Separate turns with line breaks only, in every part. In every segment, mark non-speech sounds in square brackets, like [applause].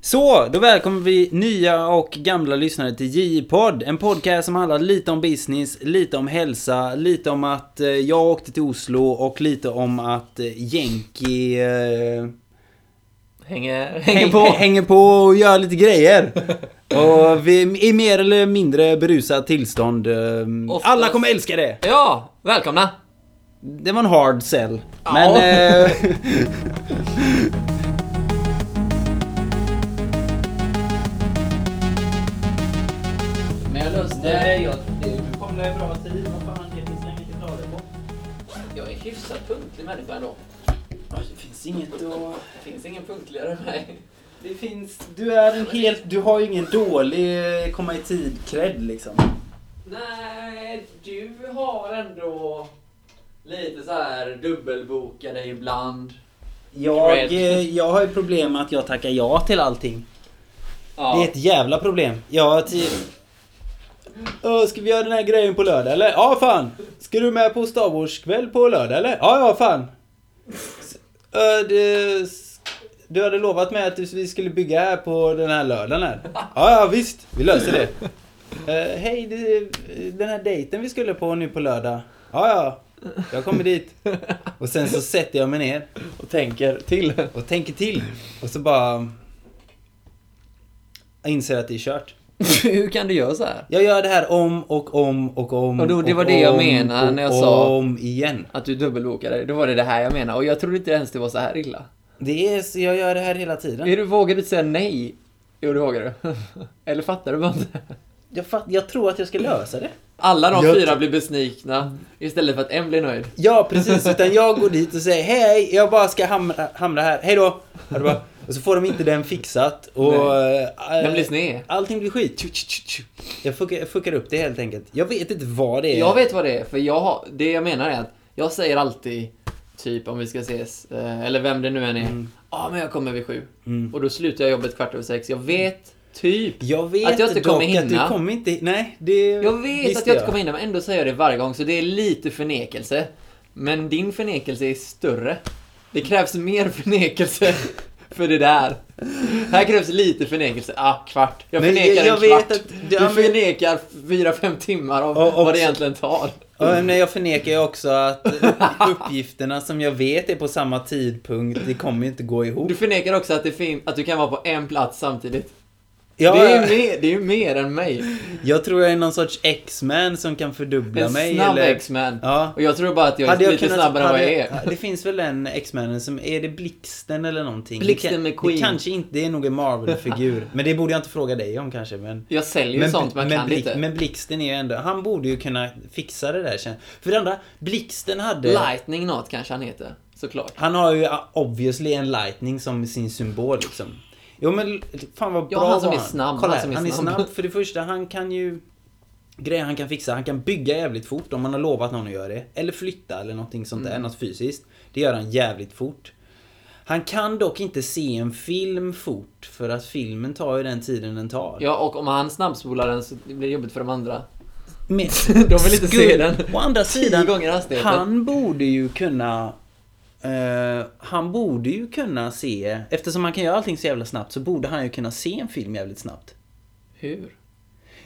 Så, då välkomnar vi nya och gamla lyssnare till J-podd. En podcast som handlar lite om business, lite om hälsa, lite om att eh, jag åkte till Oslo och lite om att eh, Jenki eh,
Hänger,
häng-
hänger på.
hänger på och gör lite [laughs] grejer. och vi, i mer eller mindre berusat tillstånd. eh,
Oftast.
Alla kommer älska det!
Ja, välkomna!
Det var en hard sell.
Ja.
Men... [laughs] Eh,
Men jag löste... jag,
du kom det bra tid. Vad fan, det finns inget att klaga på.
jag är hyfsat punktlig människa ändå.
Det finns inget att...
Det finns ingen punktligare än mig.
Det finns... Du är en helt... Du har ju ingen dålig eh, komma i tid cred liksom.
Nej, du har ändå lite så här dubbelbokade ibland.
Jag,
Cred.
eh, jag har ju problem med att jag tackar ja till allting.
Ja.
Det är ett jävla problem. Jag har tid... Ö, ska vi göra den här grejen på lördag eller? Ja fan! Ska du med på Star Wars-kväll på lördag eller? Ja ja fan! S- ö, det... Du hade lovat mig att vi skulle bygga här på den här lördagen här. Ja ja visst, vi löser det. Eh, Hej, det- den här dejten vi skulle på nu på lördag. Ja ja, jag kommer dit. Och sen så sätter jag mig ner
Och tänker till.
och tänker till. Och så bara... Jag inser att det är kört.
[laughs] Hur kan du göra så här?
Jag gör det här om och om och om.
Och då- det var
och
det jag
om
menade när jag
och
sa-
Om igen.
Att du dubbelbokade, då var det det här jag menar. Och jag trodde inte ens det var så här illa.
Det är så jag gör det här hela tiden.
Är du, vågar du inte säga nej? Jo, det vågar du. [laughs] Eller fattar du bara inte?
Jag, fatt, jag tror att jag ska
Mm.
lösa det.
Alla de
Jag-
fyra blir besvikna istället för att en blir nöjd.
Ja, precis. Utan jag går dit och säger hej, jag bara ska hamra, hamra här. Hej då. Och då bara- Och så får de inte den fixat och... eh,
Den blir sned.
Allting blir skit. Tju, tju, tju, tju. Jag fuckar, jag fuckar upp det helt enkelt. Jag vet inte vad det är.
Jag vet vad det är, för jag har, det jag menar är att jag säger alltid typ om vi ska ses, eh, eller vem det nu än är. Ja,
Mm.
men jag kommer vid sju. Och då slutar jag jobbet kvart över sex. Jag vet typ.
Jag vet
Att jag inte
dock
kommer hinna.
att du kommer inte... Nej, det...
Jag vet
visste
att jag inte kommer hinna, men ändå säger jag det varje gång, så det är lite förnekelse. Men din förnekelse är större. Det krävs mer förnekelse [laughs] för det där. Här krävs lite förnekelse. Ah, kvart. Jag
Men
förnekar
jag- jag
en
vet
kvart.
att- ja, men-
Du förnekar fyra, fem timmar av
Och- och-
vad det egentligen tar.
Ja, men jag förnekar ju också att uppgifterna som jag vet är på samma tidpunkt, det kommer ju inte gå ihop.
Du förnekar också att, det fin- att du kan vara på en plats samtidigt.
Jag,
Det, är mer, det är mer än mig.
jag tror jag är någon sorts X-Man som kan fördubbla
En
mig.
snabb
eller...
X-Man.
Ja.
Och jag tror bara att jag är lite snabbare än vad jag
hade-
är.
Det finns väl en X-Man som, är det Blixten eller någonting?
Blixten
Det kan-
McQueen.
Det kanske inte, det är nog en Marvel-figur. Men det borde jag inte fråga dig om kanske, men...
Jag säljer ju sånt man
men,
kan
Blix-
inte.
men Blixten är ju ändå, han borde ju kunna fixa det där känns För det andra, Blixten hade...
Lightning något kanske han heter, såklart.
Han har ju uh, obviously en lightning som sin symbol liksom. Jo men l- fan vad bra
Ja, han som
var
är snabb,
Kolla,
han
här,
som är
han är
snabb.
snabb. För det första, han kan ju... Grejer han kan fixa. Han kan bygga jävligt fort om han har lovat någon att göra det. Eller flytta eller någonting sånt
Mm.
där. Något fysiskt. Det gör han jävligt fort. Han kan dock inte se en film fort. För att filmen tar ju den tiden den tar.
Ja, och om han snabbspolar den så blir det jobbigt för de andra.
Men,
[laughs] De vill inte se den.
Å andra
Tio
sidan,
gånger hastigheten.
han borde ju kunna... eh, han borde ju kunna se... Eftersom han kan göra allting så jävla snabbt så borde han ju kunna se en film jävligt snabbt.
Hur?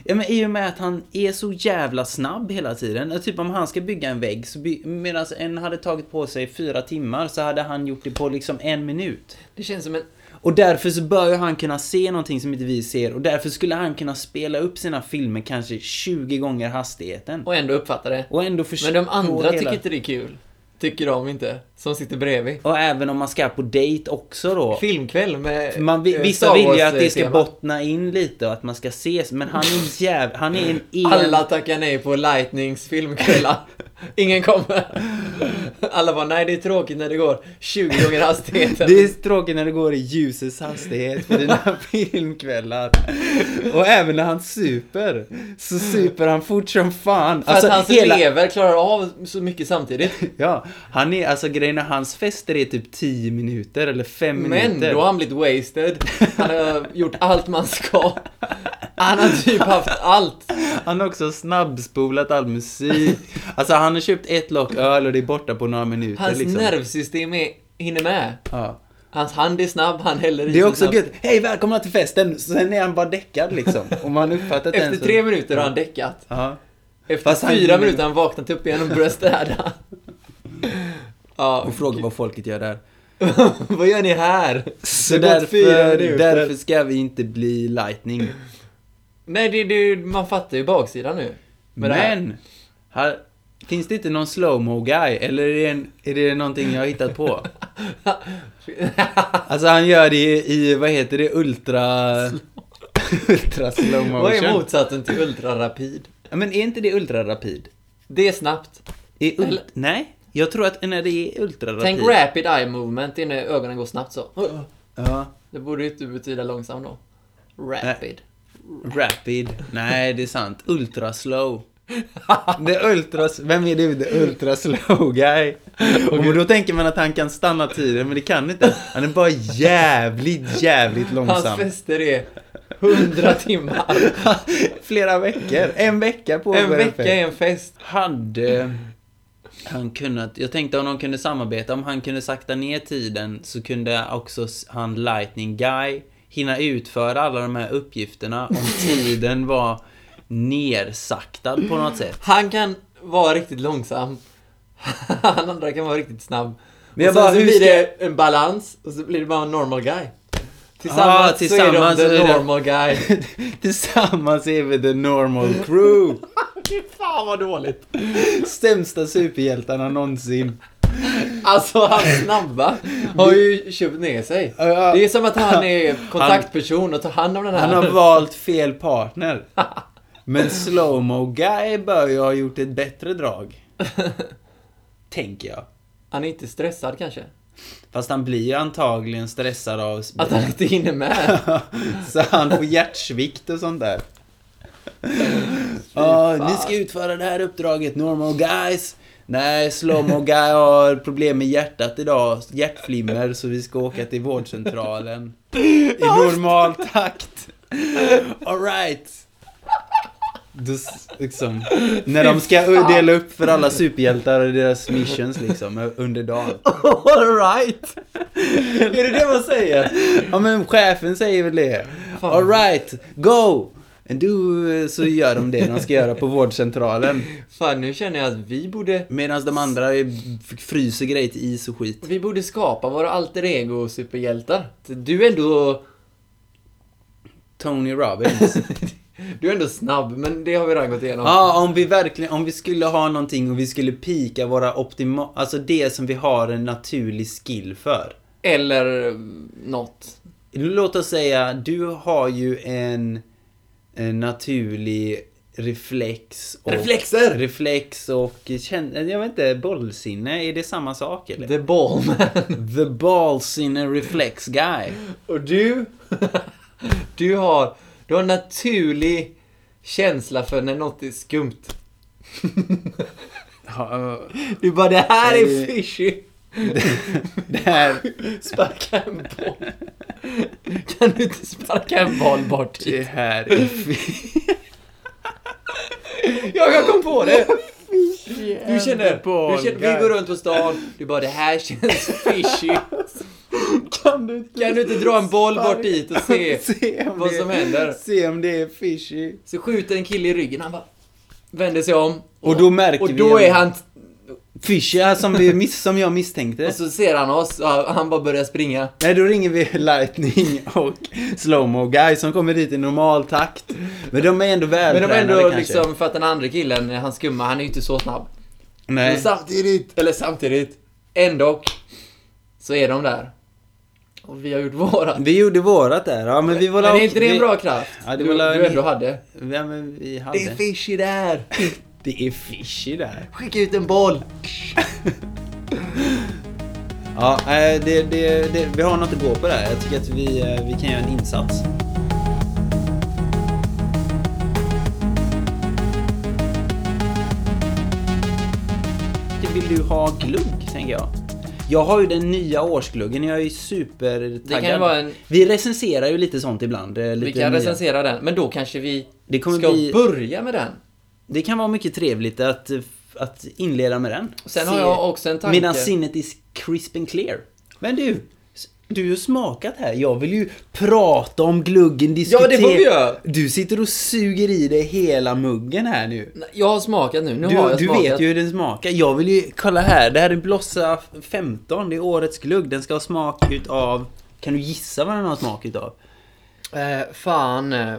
Ja, men I och med att han är så jävla snabb hela tiden. Eh, Typ om han ska bygga en vägg, så by- medan en hade tagit på sig fyra timmar så hade han gjort det på liksom en minut.
Det känns som en...
Och därför så bör ju han kunna se någonting som inte vi ser och därför skulle han kunna spela upp sina filmer kanske 20 gånger hastigheten.
Och ändå uppfattar det.
Och ändå förstå
Men de andra
hela-
tycker inte det är kul. Tycker de inte. Som sitter bredvid.
Och även om man ska på dejt också då.
Filmkväll med...
Man, vi-
eh,
vissa
Star
vill ju
Wars,
att det
eh,
ska
tema.
bottna in lite och att man ska ses. Men han
[laughs]
är jäv... Han är en el...
Alla tackar nej på Lightnings filmkvällar. Ingen kommer. Alla bara, nej det är tråkigt när det går 20 gånger hastigheten.
Det är tråkigt när det går i ljusets hastighet på
[laughs]
dina filmkvällar. Och även när han super. Så super han fort som fan. Alltså,
För att hans elever klarar av så mycket samtidigt.
Ja, han är... Alltså grejen är hans fester är typ 10 minuter eller 5 [laughs]
Men
minuter.
då har han blivit wasted. Han har gjort allt man ska. Han har typ haft allt.
Han har också snabbspolat all musik. Alltså han har köpt ett lock öl och det är borta på några minuter
Hans
liksom.
nervsystem är, hinner med.
Ja.
Hans hand är snabb, han häller i
Det är
sig
också
snabbt.
gött. Hej, välkomna till festen! Så Sen är han bara däckad liksom. Och man uppfattar inte
Efter
ens-
tre minuter har han däckat.
Ja.
Efter
Fast han-
fyra minuter har han vaknat upp igen och börjat städa. ja,
Och frågar vad folket gör där.
[laughs] vad gör ni här?
Så
har gått fyra
därför,
minuter.
därför ska vi inte bli lightning.
Nej, det, det, man fattar ju baksidan nu. med det här. [laughs]
Men! Här, finns det inte någon slowmo guy? Eller är det, en, är det någonting jag har hittat på? Alltså han gör det i, i vad heter det, ultra... [laughs] ultra slow motion.
vad är motsatsen till ultrarapid?
Ja, men är inte det ultrarapid?
Det är snabbt.
Är ult-
Eller-
Nej, jag tror att när det är ultrarapid...
Tänk rapid eye movement, det är när ögonen går snabbt så.
Ja,
Det borde ju inte betyda långsam då. Rapid.
rapid. Nej, det är sant. Ultra slow.
[laughs]
The ultra... Vem är du? The ultra slow guy. Och då tänker man att han kan stanna tiden, men det kan inte. Han är bara jävligt, jävligt
Hans
långsam.
fester är 100 timmar.
[laughs] Flera veckor. En vecka [laughs] på
En
Overhead
vecka
Fest.
är en fest.
Hade han kunnat, jag tänkte om de kunde samarbeta, om han kunde sakta ner tiden så kunde också s- han Lightning Guy hinna utföra alla de här uppgifterna [laughs] om tiden var nersaktad på något sätt.
Han kan vara riktigt långsam. [laughs] Han andra kan vara riktigt snabb.
Men
och
jag
sen
bara,
så
hur
blir
ska-
det en balans och så blir det bara en normal guy. Tillsammans,
Ah, tillsammans
så är
så är
de the
det-
normal guy.
[laughs] Tillsammans är vi the normal crew.
[laughs] Fy Fan vad dåligt.
Sämsta superhjältarna någonsin.
Alltså han
[laughs]
snabba har ju köpt ner sig.
Ja, ja.
Det är som att
[laughs]
han är kontaktperson och tar hand om den
Han
här.
har valt fel partner. Men Slowmo Guy bör ju ha gjort ett bättre drag. Tänker jag.
Han är inte stressad kanske.
Fast han blir ju antagligen stressad av...
Att han inte hinner med.
[laughs] så han får hjärtsvikt och sånt där. Ja,
fan.
ni ska utföra det här uppdraget, normal guys. Nej, Slowmo Guy har problem med hjärtat idag. Hjärtflimmer, så vi ska åka till vårdcentralen. I normal takt. Alright. Då s- liksom, när de ska dela upp för alla superhjältar och deras missions liksom, under dagen.
Alright!
Är det det man säger? Ja men chefen säger väl det.
Fan.
Alright, go! Du, eh, så gör de det de ska göra på vårdcentralen.
Fan nu känner jag att vi borde
Medan de andra är- f- fryser grejer till is och skit.
Vi borde skapa våra alter ego superhjältar. Du är ändå... [laughs]
Tony Robbins.
Du är ändå snabb, men det har vi redan gått igenom.
Ja, om vi verkligen, om vi skulle ha någonting och vi skulle pika våra optima, alltså det som vi har en naturlig skill för.
Eller mm, något.
Låt oss säga, du har ju en, en naturlig reflex och...
Reflexer!
Reflex och känn, jag vet inte, bollsinne, är det samma sak eller?
The Ballman.
The ballsinne reflex guy.
Och du? Du har... Du har en naturlig känsla för när något är skumt.
eh,
Du bara, det här är
Nej.
fishy.
[laughs] Det här,
Sparka en boll. Kan du inte sparka en boll bort
det
dit?
här är fi-
Jag jag kom på det! Du känner,
boll,
du känner, vi
guy.
går runt på stan, du bara det här känns fishy.
Kan du inte,
Kan du inte dra en boll bort
[laughs]
dit och se?
se om
vad
det,
som händer?
Se om det är fishy.
Så skjuter en kille i ryggen, han bara vänder sig om.
Och då märker
Och
vi
då
en-
är han,
Fishy ja, som, vi miss, som jag misstänkte.
och så ser han oss och han bara börjar springa.
Nej, då ringer vi Lightning och Slowmo Guy som kommer dit i normal takt. Men de är ändå
Men de
vältränade
är ändå
kanske.
liksom, för att den andra killen, han skumma, han är ju inte så snabb. Men
Nej.
samtidigt, eller samtidigt, ändå så är de där. Och vi har gjort våra.
Vi gjorde vårat där, ja men vi var
Men
la-
är inte det
vi-
en bra kraft?
Ja, det
du,
var la-
du ändå hade.
Ja men vi hade.
Det är fishy [laughs] där!
det är fishy där.
Skicka ut en boll!
Ja, eh, det, det, det, vi har något att gå på där. Jag tycker att vi, eh, vi kan göra en insats. Det Vill du ha glugg, tänker jag? Jag har ju den nya årsgluggen, jag är ju supertaggad.
Det kan ju vara en-
Vi recenserar ju lite sånt ibland. eh, Lite
Vi kan
nya.
recensera den, men då kanske vi
Det kommer
ska
bli-
börja med den.
Det kan vara mycket trevligt att, eh, att inleda med den.
Sen har jag också en tanke.
Medan sinnet är crisp and clear. Men du, s- du har ju smakat här. Jag vill ju prata om gluggen, diskutera.
Ja, det får vi göra.
Du sitter och suger i dig hela muggen här nu.
Nej, Jag har smakat nu, nu har
Du,
jag
du
smakat.
vet ju hur den smakar. Jag vill ju, kolla här, det här är Blossa 15, det är årets glugg. Den ska ha smak utav, kan du gissa vad den har smak utav?
Eh, fan. eh,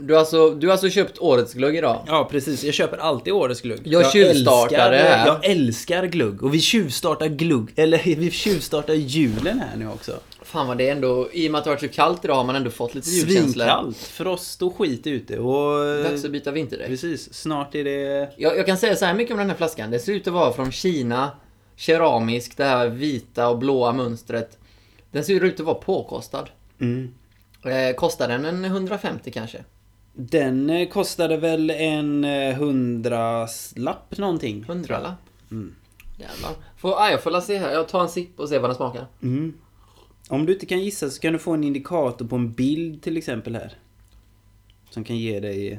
Du har alltså, du har alltså köpt årets glögg idag?
Ja precis, jag köper alltid årets glugg.
Jag tjuvstartar det
älskar,
här.
Jag älskar glugg. Och vi tjuvstartar glugg, eller [laughs] vi tjuvstartar julen här nu också.
Fan vad det är ändå, i och med att det har varit så kallt idag har man ändå fått lite julkänsla.
Svinkallt, frost och skit ute och...
Dags att byta vinterdäck.
Precis, snart är det...
Jag, jag kan säga så här mycket om den här flaskan. Det ser ut att vara från Kina. Keramisk, det här vita och blåa mönstret. Den ser ut att vara påkostad.
Mm.
Eh, kostar den en 150 kanske?
Den eh, kostade väl en eh, hundralapp någonting.
Hundralapp?
Mm.
Jävlar. Får, ah, jag får la se här. Jag tar en sipp och ser vad den smakar.
Mm. Om du inte kan gissa så kan du få en indikator på en bild till exempel här. Som kan ge dig eh,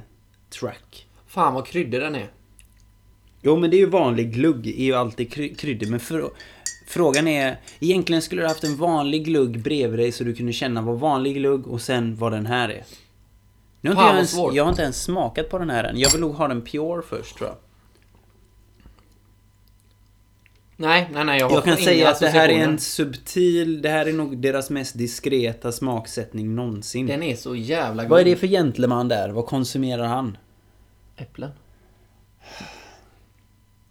track.
Fan vad kryddig den är.
Jo men det är ju vanlig glugg, är ju alltid kry- kryddig. Men frå- frågan är, egentligen skulle du haft en vanlig glugg bredvid dig så du kunde känna vad vanlig glugg och sen vad den här är. Nu har
Fan,
inte jag,
vad
ens,
svårt.
jag har inte ens smakat på den här än. Jag vill nog ha den pure först tror jag.
Nej, nej, nej. Jag, har
Jag kan
inga
säga att det här är
associationer.
en subtil, det här är nog deras mest diskreta smaksättning någonsin.
Den är så jävla god.
Mm. Vad är det för gentleman där? Vad konsumerar han?
Äpplen.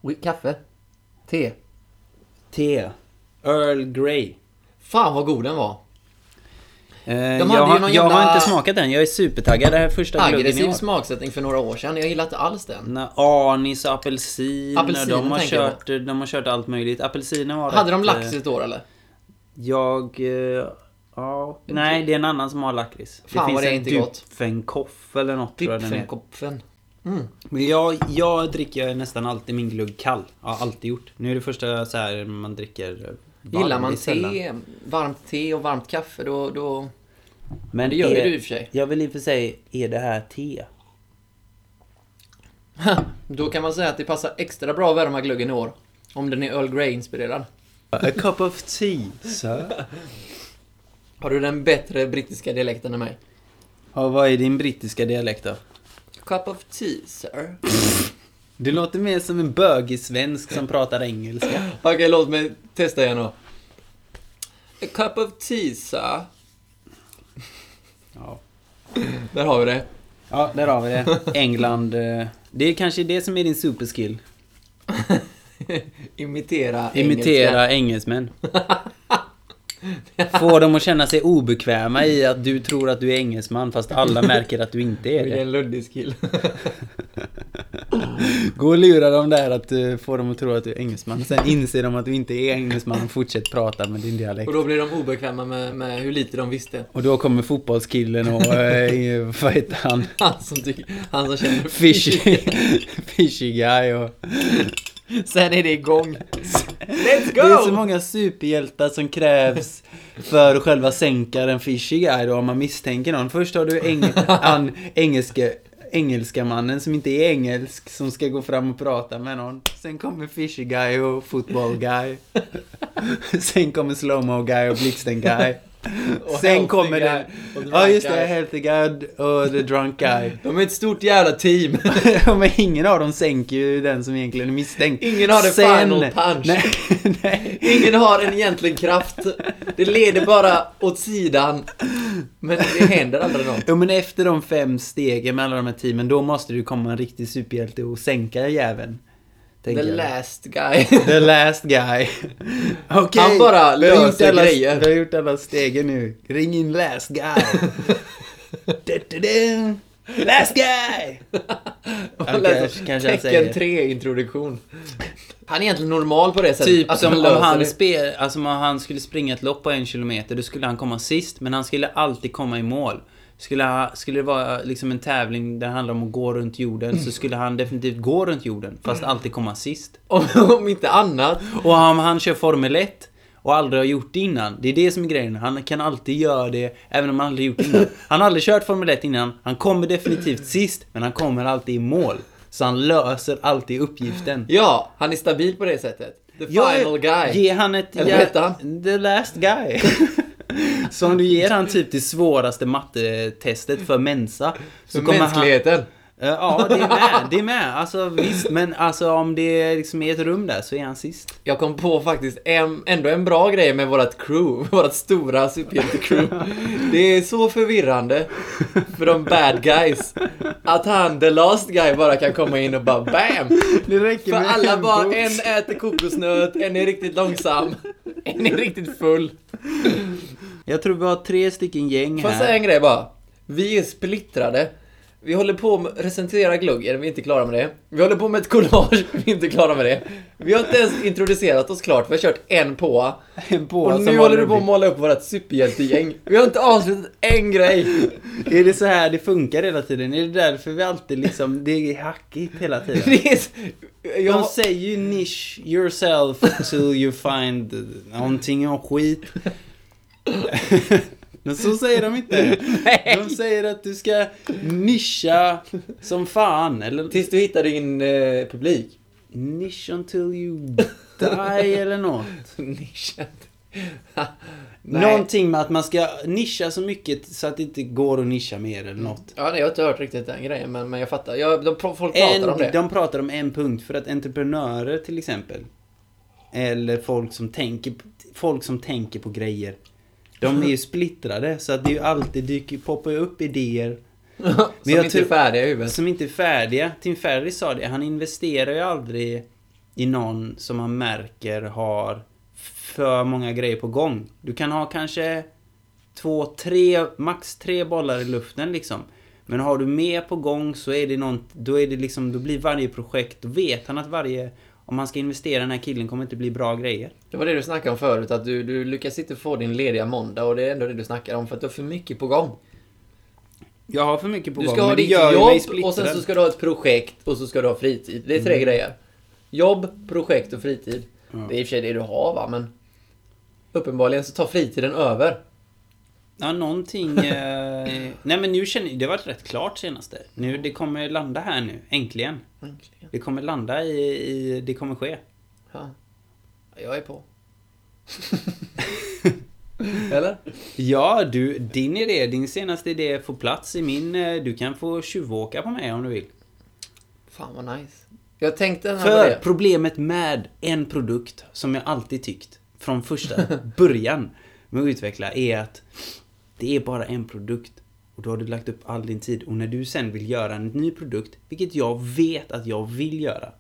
Oj, Kaffe. Te.
Te. Earl Grey.
Fan vad god den var.
Eh,
hade
jag,
ju
har,
någon
jag har
jävla-
inte smakat den, jag är supertaggad. Det här är första gluggen i
Aggressiv
år.
smaksättning för några år sedan. Jag gillar inte alls den.
Nej, Anis och apelsin.
Apelsiner
de, har
tänker jag
kört, eh, de har kört allt möjligt. Apelsiner har
Hade de
ett,
lax i
eh,
ett år eller?
Jag... eh, Ja, nej, det är en annan som har lakrits.
typ- Fan,
finns
vad det är
en
inte gott.
Dupfenkoff eller något tror jag den är.
Dipfenkopfen. Mm.
Men jag, jag dricker nästan alltid min glugg kall. Ja, alltid gjort. Nu är det första så här man dricker varm,
Gillar man
det är sällan.
te, varmt te och varmt kaffe då... då...
Men
Det gör ju
är,
du i och för sig. [laughs]
Jag vill i och för sig, är det här te?
Då kan man säga att det passar extra bra att värma glöggen i år. Om den är Earl Grey-inspirerad.
A cup of tea, sir.
Har du den bättre brittiska dialekten än mig?
Ja, vad är din brittiska dialekt då?
Cup of tea, sir.
Du låter mer som en bögig svensk som pratar engelska.
Okej, låt mig testa igen då. A cup of tea, sir.
Ja.
Där har vi det. [laughs]
ja, där har vi det. England. eh, Det är kanske det som är din superskill.
Imitera
Imitera engelsmän. Få dem att känna sig obekväma i att du tror att du är engelsman fast alla märker att du inte är det.
Vilken luddig skill.
Gå och lura dem där att eh, få dem att tro att du är engelsman. Sen inser de att du inte är engelsman och fortsätter prata med din dialekt.
[laughs] Och då blir de obekväma med, med hur lite de visste.
Och då kommer fotbollskillen och, eh, vad heter han?
Han som, tycker, han som känner
Fishy, fishy guy och...
[laughs] Sen är det igång. Let's
Det är så
go!
många superhjältar som krävs för att själva sänka den fishy guy då om man misstänker någon. Först har du
[laughs]
eng an, engelske, engelska mannen som inte är engelsk som ska gå fram och prata med någon. Sen kommer fishy guy och football guy. Sen kommer slowmo guy och blixten guy.
[laughs] Och healthy
Sen kommer
guy
den...
och drunk
Ja just det,
guy.
healthy guy och the drunk guy. [laughs]
De är ett stort jävla team. [laughs]
Ja, men ingen av dem sänker ju den som egentligen är misstänkt.
Ingen har the final
[laughs]
punch.
Nej, nej.
Ingen har en egentlig kraft. Det leder bara åt sidan. Men det händer aldrig något.
Jo men efter de fem stegen med alla de här teamen, då måste du komma en riktig superhjälte och sänka jäveln.
The
Tänker jag.
last guy. [laughs]
The last guy. Okej.
Han bara
vi har gjort
löser
alla,
grejer.
Vi har gjort alla stegen nu. Ring in last
[laughs]
guy. du, du, du. Last guy! Han kanske- kanske han säger.
Tecken 3-introduktion. Han är egentligen normal på det sättet.
Typ
Alltså,
som om
löser
han,
det.
spel, alltså om han skulle springa ett lopp på en kilometer, då skulle han komma sist, men han skulle alltid komma i mål. Skulle, ha, skulle det vara liksom en tävling där det handlar om att gå runt jorden, så skulle han definitivt gå runt jorden, fast alltid komma sist.
[laughs] Om, om inte annat.
Och om han kör Formel 1, och aldrig har gjort det innan. Det är det som är grejen. Han kan alltid göra det, även om han aldrig gjort det innan. Han har aldrig kört Formel 1 innan. Han kommer definitivt sist, men han kommer alltid i mål. Så han löser alltid uppgiften.
Ja, han är stabil på det sättet. The
Ja,
final guy.
Ge han ett...
Eller vad hette han? [laughs]
The last guy. Så om du ger han typ det svåraste mattetestet för Mensa. Så
Så mänskligheten.
Han, Eh, ja, det är med. Det är med. Alltså visst, men alltså om det liksom är ett rum där så är han sist.
Jag kom på faktiskt en, ändå en bra grej med vårt crew, [laughs] vårt stora [laughs] superhjälte-crew. Det är så förvirrande [laughs] för de bad guys att han, the last guy, bara kan komma in och bara BAM!
Det räcker
För alla bara, en äter kokosnöt, en är riktigt långsam, [laughs] en är riktigt full.
Jag tror vi har tre stycken gäng
Får jag säga
här.
en grej bara? Vi är splittrade. Vi håller på med att recensera gluggen, vi är inte klara med det. Vi håller på med ett collage, [laughs] vi är inte klara med det. Vi har inte ens introducerat oss klart, vi har kört en påa.
En på
Och
som
nu
har
håller du på
rubrik.
att måla upp vårt superhjältegäng. Vi har inte avslutat en [laughs] grej.
Är det så här det funkar hela tiden? Är det därför vi alltid liksom, det är hackigt hela tiden?
Det är s-
De
Jag,
säger ju niche yourself till you find någonting om
[laughs]
skit. Men så säger de inte.
Nej.
De säger att du ska nischa som fan. Eller
tills du hittar din eh, publik. [laughs]
niche until you die eller något.
Nischat. [laughs] Nej.
Någonting med att man ska nischa så mycket så att det inte går att nischa mer eller något.
Ja, nej, jag har inte hört riktigt den grejen, men, men jag fattar. Jag, de, pro- folk pratar om
En,
det.
de pratar om en punkt för att entreprenörer till exempel. Eller folk som tänker, folk som tänker på grejer.
Mm.
De är ju splittrade så att det är ju alltid dyker, poppar ju upp idéer
[laughs] Som
Men jag
inte är
tror-
färdiga i huvudet.
som inte är färdiga. Tim Ferriss sa det, han investerar ju aldrig i någon som han märker har för många grejer på gång. Du kan ha kanske två, tre, max tre bollar i luften liksom. Men har du mer på gång så är det någon, då är det liksom, då blir varje projekt, då vet han att varje, om han ska investera i den här killen kommer inte bli bra grejer.
Det var det du snackade om förut, att du, du lyckas inte få din lediga måndag och det är ändå det du snackar om, för att du har för mycket på gång.
Jag har för mycket på
Du
gång,
ska ha
men det
ditt
gör ju mig
jobb
splittrad. Mm.
och sen så ska du ha ett projekt och så ska du ha fritid. Det är tre grejer. Jobb, projekt och fritid.
Ja.
Det är i och för sig det du har va, men uppenbarligen så tar fritiden över.
Ja, någonting... Eh, nej men nu känner jag, det har varit rätt klart senaste. Nu, det kommer landa här nu, äntligen.
Mm,
Det kommer landa i, i det kommer ske. [laughs]
Ja. Jag är på. Eller?
Ja, du, din idé, din senaste idé får plats i min, eh, du kan få tjuvåka på mig om du vill.
Fan vad nice. Jag tänkte den här på
För
det.
problemet med en produkt, som jag alltid tyckt, från första början med att utveckla, är att det är bara en produkt. Och då har du lagt upp all din tid. Och när du sen vill göra en ny produkt, vilket jag vet att jag vill göra.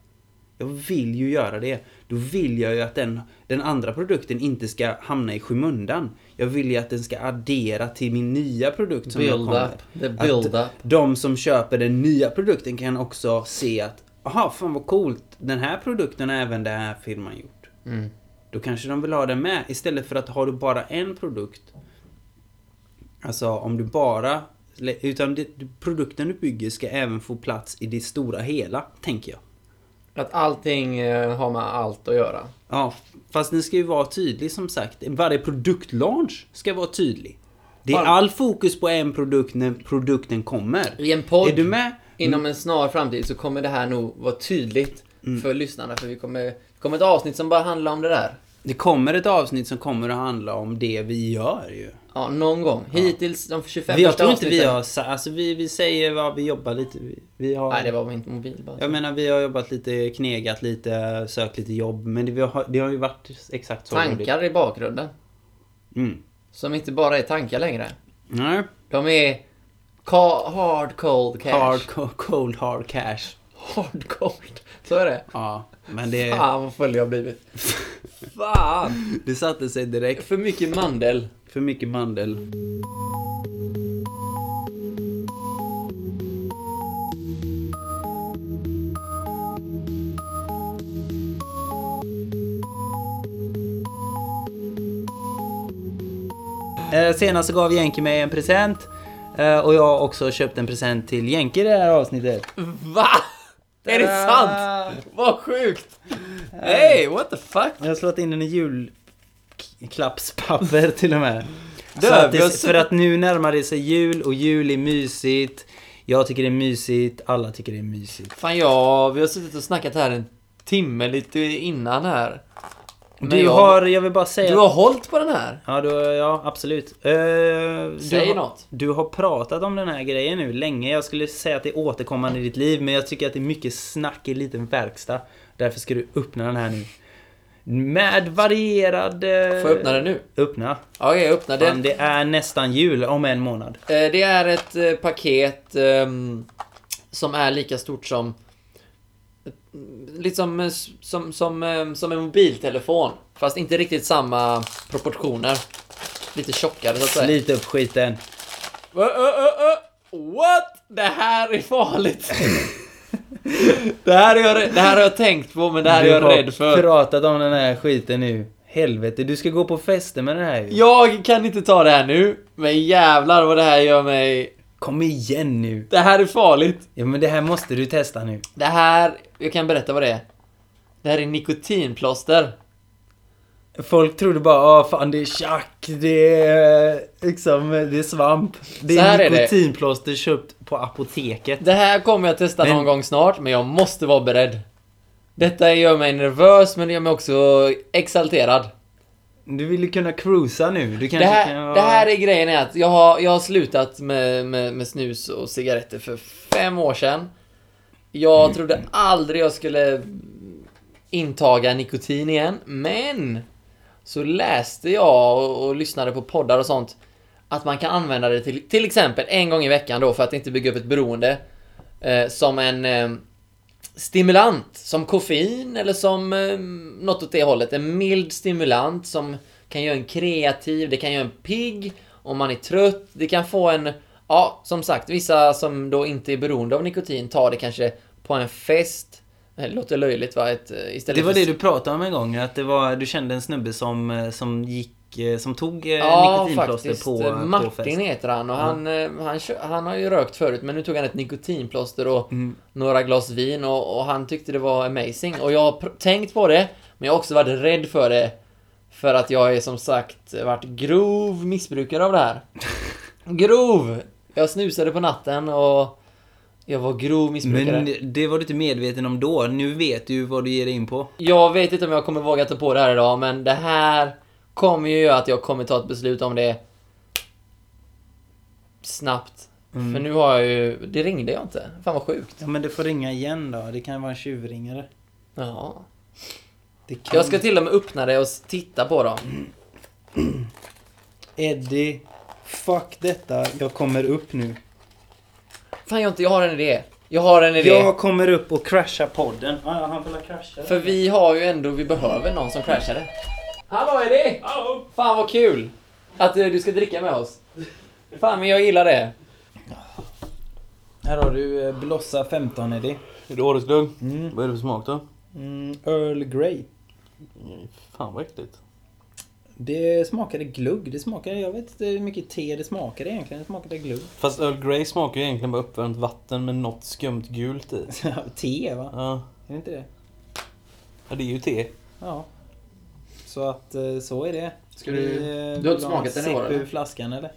Jag vill ju göra det. Då vill jag ju att den, den andra produkten inte ska hamna i skymundan. Jag vill ju att den ska addera till min nya produkt som jag
Build
kommer.
up. The
Att
build up.
de som köper den nya produkten kan också se att Aha, fan vad coolt. Den här produkten har även den här firman gjort.
Mm.
Då kanske de vill ha den med istället för att har du bara en produkt. Alltså om du bara... Utan det, produkten du bygger ska även få plats i det stora hela, tänker jag.
Att allting eh, har med allt att göra.
Ja, fast den ska ju vara tydlig som sagt. Varje produktlaunch ska vara tydlig. Det är
Fan.
all fokus på en produkt när produkten kommer.
I en podd.
Är du med?
Inom en snar framtid så kommer det här nog vara tydligt
Mm.
för lyssnarna. För vi kommer, det kommer ett avsnitt som bara handlar om det där.
Det kommer ett avsnitt som kommer att handla om det vi gör ju.
Ja, någon gång. Hittills de 25
Vi, jag
första
tror inte vi
avsnitten-
har... sa- Alltså vi, vi säger vad vi jobbar lite... Vi, vi har...
Nej, det var min mobil bara.
Jag menar vi har jobbat lite, knegat lite, sökt lite jobb. Men det, vi har, det har ju varit exakt så.
Tankar i bakgrunden.
Mm.
Som inte bara är tankar längre.
Nej.
De är ca- hard cold cash.
Hard, co- cold hard cash.
hard cold. Så är det.
Ja. Men det,
Fan vad full jag
[laughs]
har blivit. Fan!
det satte sig direkt.
För mycket mandel.
För mycket mandel. Eh, Senast så gav Jenke mig en present eh, och jag har också köpt en present till Jenke i det här avsnittet.
Va? Är det sant? Vad sjukt!
Eh.
Hey, what the fuck?
Jag har slått in den i julklappspapper till och med.
Dö,
så att
vi har
det,
suttit-
för att nu närmar det sig jul och jul är mysigt. Jag tycker det är mysigt, alla tycker det är mysigt.
Fan ja, vi har suttit och snackat här en timme lite innan här. Men
Du
jag-
har, jag vill bara säga...
Du har hållit på den här.
Ja, du, har- ja absolut. Eh, du,
Säg
har-
något.
Du har pratat om den här grejen nu länge. Jag skulle säga att det är återkommande i ditt liv, men jag tycker att det är mycket snack i liten verkstad. Därför ska du öppna den här nu. Med varierad... eh,
Får jag öppna den nu?
Öppna.
Ja, jag öppnar
Fan,
den.
det är nästan jul om en månad.
Eh, Det är ett eh, paket ehm, som är lika stort som... Lite som, eh, s- som, som, ehm, som en mobiltelefon. Fast inte riktigt samma proportioner. Lite tjockare så att säga.
Lite upp
[laughs]
skiten.
Ö, ö, ö, ö. What? Det här är farligt. det, här är jag, rä- det här har jag tänkt på men det här är
du
jag
har
rädd för.
pratat om den här skiten nu. Helvete, du ska gå på fester med den här ju.
Jag kan inte ta det här nu. Men jävlar vad det här gör mig...
Kom igen nu.
Det här är farligt.
Ja men det här måste du testa nu.
Det här, jag kan berätta vad det är. Det här är nikotinplåster.
Folk trodde bara ah fan det är tjack, det är liksom, det är svamp. Det
Så här
är
är det.
nikotinplåster köpt på apoteket.
Det här kommer jag testa
Men-
någon gång snart, men jag måste vara beredd. Detta gör mig nervös, men det gör mig också exalterad.
Du vill ju kunna cruisa nu. Du kanske
Det
kan
här,
vara...
det här är grejen är att jag har, jag har slutat med, med, med snus och cigaretter för fem år sedan.
Mm.
Jag trodde aldrig jag skulle intaga nikotin igen, men så läste jag och, och lyssnade på poddar och sånt att man kan använda det till, till exempel en gång i veckan då för att inte bygga upp ett beroende eh, som en eh, stimulant, som koffein eller som eh, något åt det hållet. En mild stimulant som kan göra en kreativ, det kan göra en pigg om man är trött, det kan få en, ja som sagt, vissa som då inte är beroende av nikotin tar det kanske på en fest, det låter löjligt va? Ett, eh, istället
Det var
för-
det du pratade om en gång, att det var, du kände en snubbe som, eh, som gick, eh, som tog eh, nikotinplåster på, eh, på
Martin
fest.
heter han och han, eh, han, kö- han har ju rökt förut men nu tog han ett nikotinplåster och
Mm.
några glas vin och, och han tyckte det var amazing. Och jag har pr- tänkt på det, men jag har också varit rädd för det. För att jag är som sagt varit grov missbrukare av
[laughs]
det här. grov! Jag snusade på natten och jag var grov missbrukare.
Men det var du inte medveten om då. Nu vet du vad du ger dig in på.
Jag vet inte om jag kommer våga ta på det här idag, men det här kommer ju göra att jag kommer ta ett beslut om det snabbt. För nu har jag ju... Det ringde jag inte. Fan vad sjukt.
Ja men du får ringa igen då. Det kan vara en tjuvringare.
Ja.
Det kan...
Jag ska till och med öppna det och s- titta på dem.
Eddie. Fuck detta. Jag kommer upp nu.
Fan jag inte, jag har en idé. Jag har en idé.
Jag kommer upp och crashar podden. Ja, ja, han vill crasha.
För vi har ju ändå, vi behöver någon som crashade. Hallå Eddie! Fan vad kul! Att eh, du ska dricka med oss. Fan men jag gillar det.
Här har du eh, Blossa 15 Eddie.
Är det årets glögg?
Mm.
Vad är det för smak då?
Earl Grey.
Fan vad äckligt.
Det smakade glugg. Det smakade, jag vet inte hur mycket te det smakade egentligen. Det smakade glugg.
Fast Earl Grey smakar ju egentligen bara uppvärmt vatten med något skumt gult i.
[laughs] te va?
Ja,
Är det inte det?
Ja, det är ju te.
Ja. Så att eh, så är det.
Ska du-
Vi, eh,
har
vill ha
inte smakat
en
den i år,
sipp ur
eller?
flaskan eller?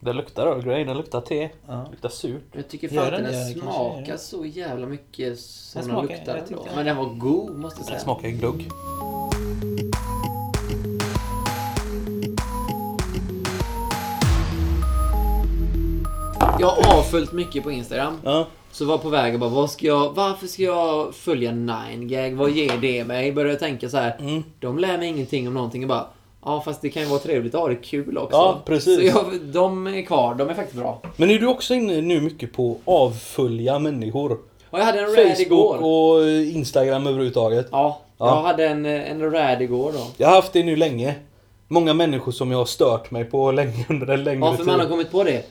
Det luktar Earl Grey, det luktar te.
Ja.
Det luktar surt.
Jag tycker
Gör
fan
den
inte
det?
den
Det kanske är
smakar
det.
så jävla mycket som
Den
den
smakar-
luktar
jag
ändå.
tyckte-
Men den var god måste jag
Det
säga.
smakar glögg.
Jag har avföljt mycket på Instagram.
Ja.
Så var på väg och bara, vad ska jag, varför ska jag följa 9gag? Vad ger det mig? Började jag tänka så här.
Mm.
De lär mig ingenting om någonting. Jag bara, ja fast det kan ju vara trevligt att ha det kul också.
Ja, precis.
Så jag, de är kvar, de är faktiskt bra.
Men är du också inne nu mycket på avfölja människor?
Och jag hade en rad
Facebook
igår.
och eh, Instagram överhuvudtaget.
Ja,
Ja.
jag hade en, en rad igår då.
Jag har haft det nu länge. Många människor som jag har stört mig på länge under en längre
Ja, för man har
tid.
kommit på det.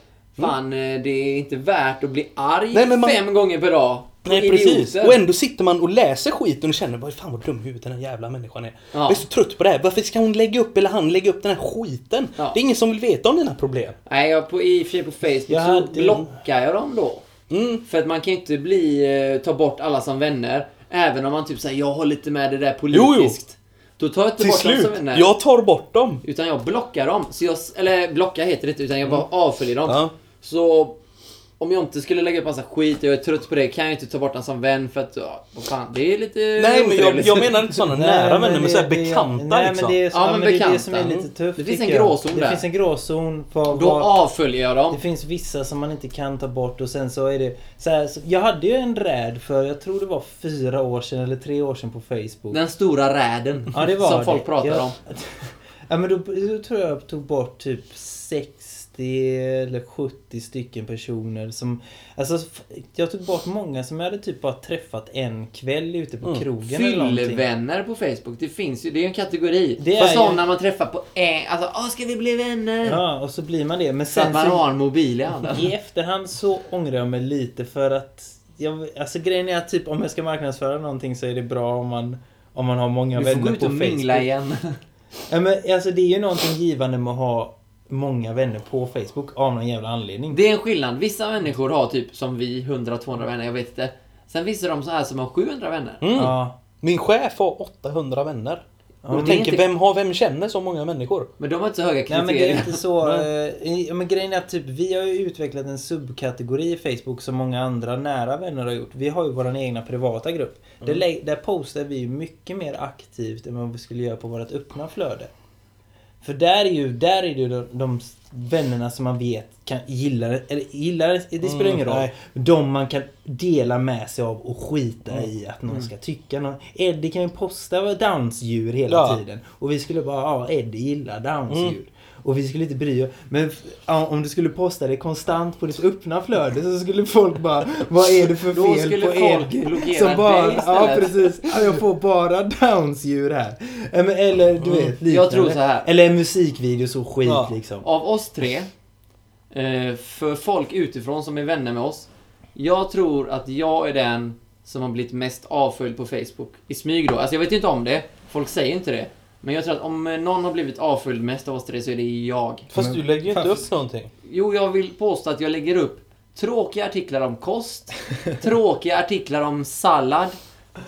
Fan, eh, det är inte värt att bli arg
Mm. Nej, men man-
fem gånger per dag. på
Nej
idioter.
precis. Och ändå sitter man och läser skiten och känner bara fan vad dum i huvudet den här jävla människan är.
Ja.
Jag är så trött på det här. Varför ska hon lägga upp eller han lägga upp den här skiten?
Ja.
Det är ingen som vill veta om dina problem.
Nej, jag på, i och för sig på Facebook
Jag
så
hade-
blockar jag dem då.
Mm.
För att man kan ju inte bli, eh, ta bort alla som vänner. Även om man typ säger jag håller inte med det där
jo.
politiskt. Då tar jag inte
Till
bort dem
slut.
som vänner.
Jag tar bort dem.
Utan
Mm.
jag blockar dem. Så jag, s- eller blocka heter det inte, utan jag bara avföljer dem.
Ja.
Så om jag inte skulle lägga upp massa skit och jag är trött på det kan jag inte ta bort den som vän för att, ja, vad fan, det är lite
Nej men jag,
otrevligt.
jag menar inte sådana nära vänner men såhär
det- det-
bekanta
nej,
liksom.
Men det är, så,
Ja,
ja,
men
men det är det
bekanta.
som är lite tufft
Det finns en
tycker jag.
gråzon
Det
där.
finns en gråzon på
Då
vad...
avföljer jag dem.
Det finns vissa som man inte kan ta bort och sen så är det... Så här, så, jag hade ju en räd för, jag tror det var fyra år sedan eller tre år sedan på Facebook.
Den stora räden.
Ja, det var
som
det.
folk pratar
jag,
om.
[laughs] Ja, men då, då tror jag jag tog bort typ 60 eller 70 stycken personer som... Alltså, f- jag tog bort många som jag hade typ bara träffat en kväll ute på
Mm.
krogen eller någonting.
Fyllevänner på Facebook, det finns ju, det är ju en kategori.
Det
För
är ju-
sådana man träffar på en, alltså åh ska vi bli vänner?
Ja, och så blir man det. Men
så att
sen
man
så,
har en mobil i handen.
i efterhand så ångrar jag mig lite för att... Jag, alltså grejen är att typ om jag ska marknadsföra någonting så är det bra om man, om man har många
Du
vänner
får
på
gå
Facebook.
ut och mingla igen.
Ja, men, alltså, det är ju någonting givande med att ha många vänner på Facebook av någon jävla anledning.
Det är en skillnad. Vissa människor har typ som vi 100-200 vänner, jag vet inte. Sen finns det de så här som har 700 vänner.
Mm.
Ja.
Min chef har 800 vänner. och
men
du
det är
tänker,
inte-
vem, har, vem känner så många människor?
Men de har inte så höga
Nej
kriterier.
men det är inte så. eh, ja, men grejen är att typ, vi har ju utvecklat en subkategori i Facebook som många andra nära vänner har gjort. Vi har ju vår egna privata grupp.
Mm.
Där, lä- där postar vi ju mycket mer aktivt än vad vi skulle göra på vårt öppna flöde. För där är ju, där är det ju de, de s- vännerna som man vet kan, gillar, eller gillar, det spelar ingen roll.
Mm, nej.
De man kan dela med sig av och skita
Mm.
i att någon ska tycka något. Eddie kan ju posta dansdjur hela
Ja. Mm.
tiden. Och vi skulle bara, ja Eddie gillar dansdjur. Och vi skulle inte bry oss. Men f- ja, om du skulle posta det konstant på ditt öppna flöde så skulle folk bara, vad är det för
Då
fel
skulle
på
folk
Eddie?
blockera
Som
dig
bara, ja
istället.
precis. Ja, jag får bara dansdjur här. Ja, men Eller du vet, liknande.
Mm. Jag tror så här.
Eller en musikvideo så skit
Ja.
liksom.
Av oss tre, eh, för folk utifrån som är vänner med oss, jag tror att jag är den som har blivit mest avföljd på Facebook. I smyg då. Alltså jag vet inte om det, folk säger inte det. Men jag tror att om eh, någon har blivit avföljd mest av oss tre så är det jag.
Fast du lägger ju inte
fan,
upp någonting.
Jo, jag vill påstå att jag lägger upp tråkiga artiklar om kost, tråkiga artiklar om sallad,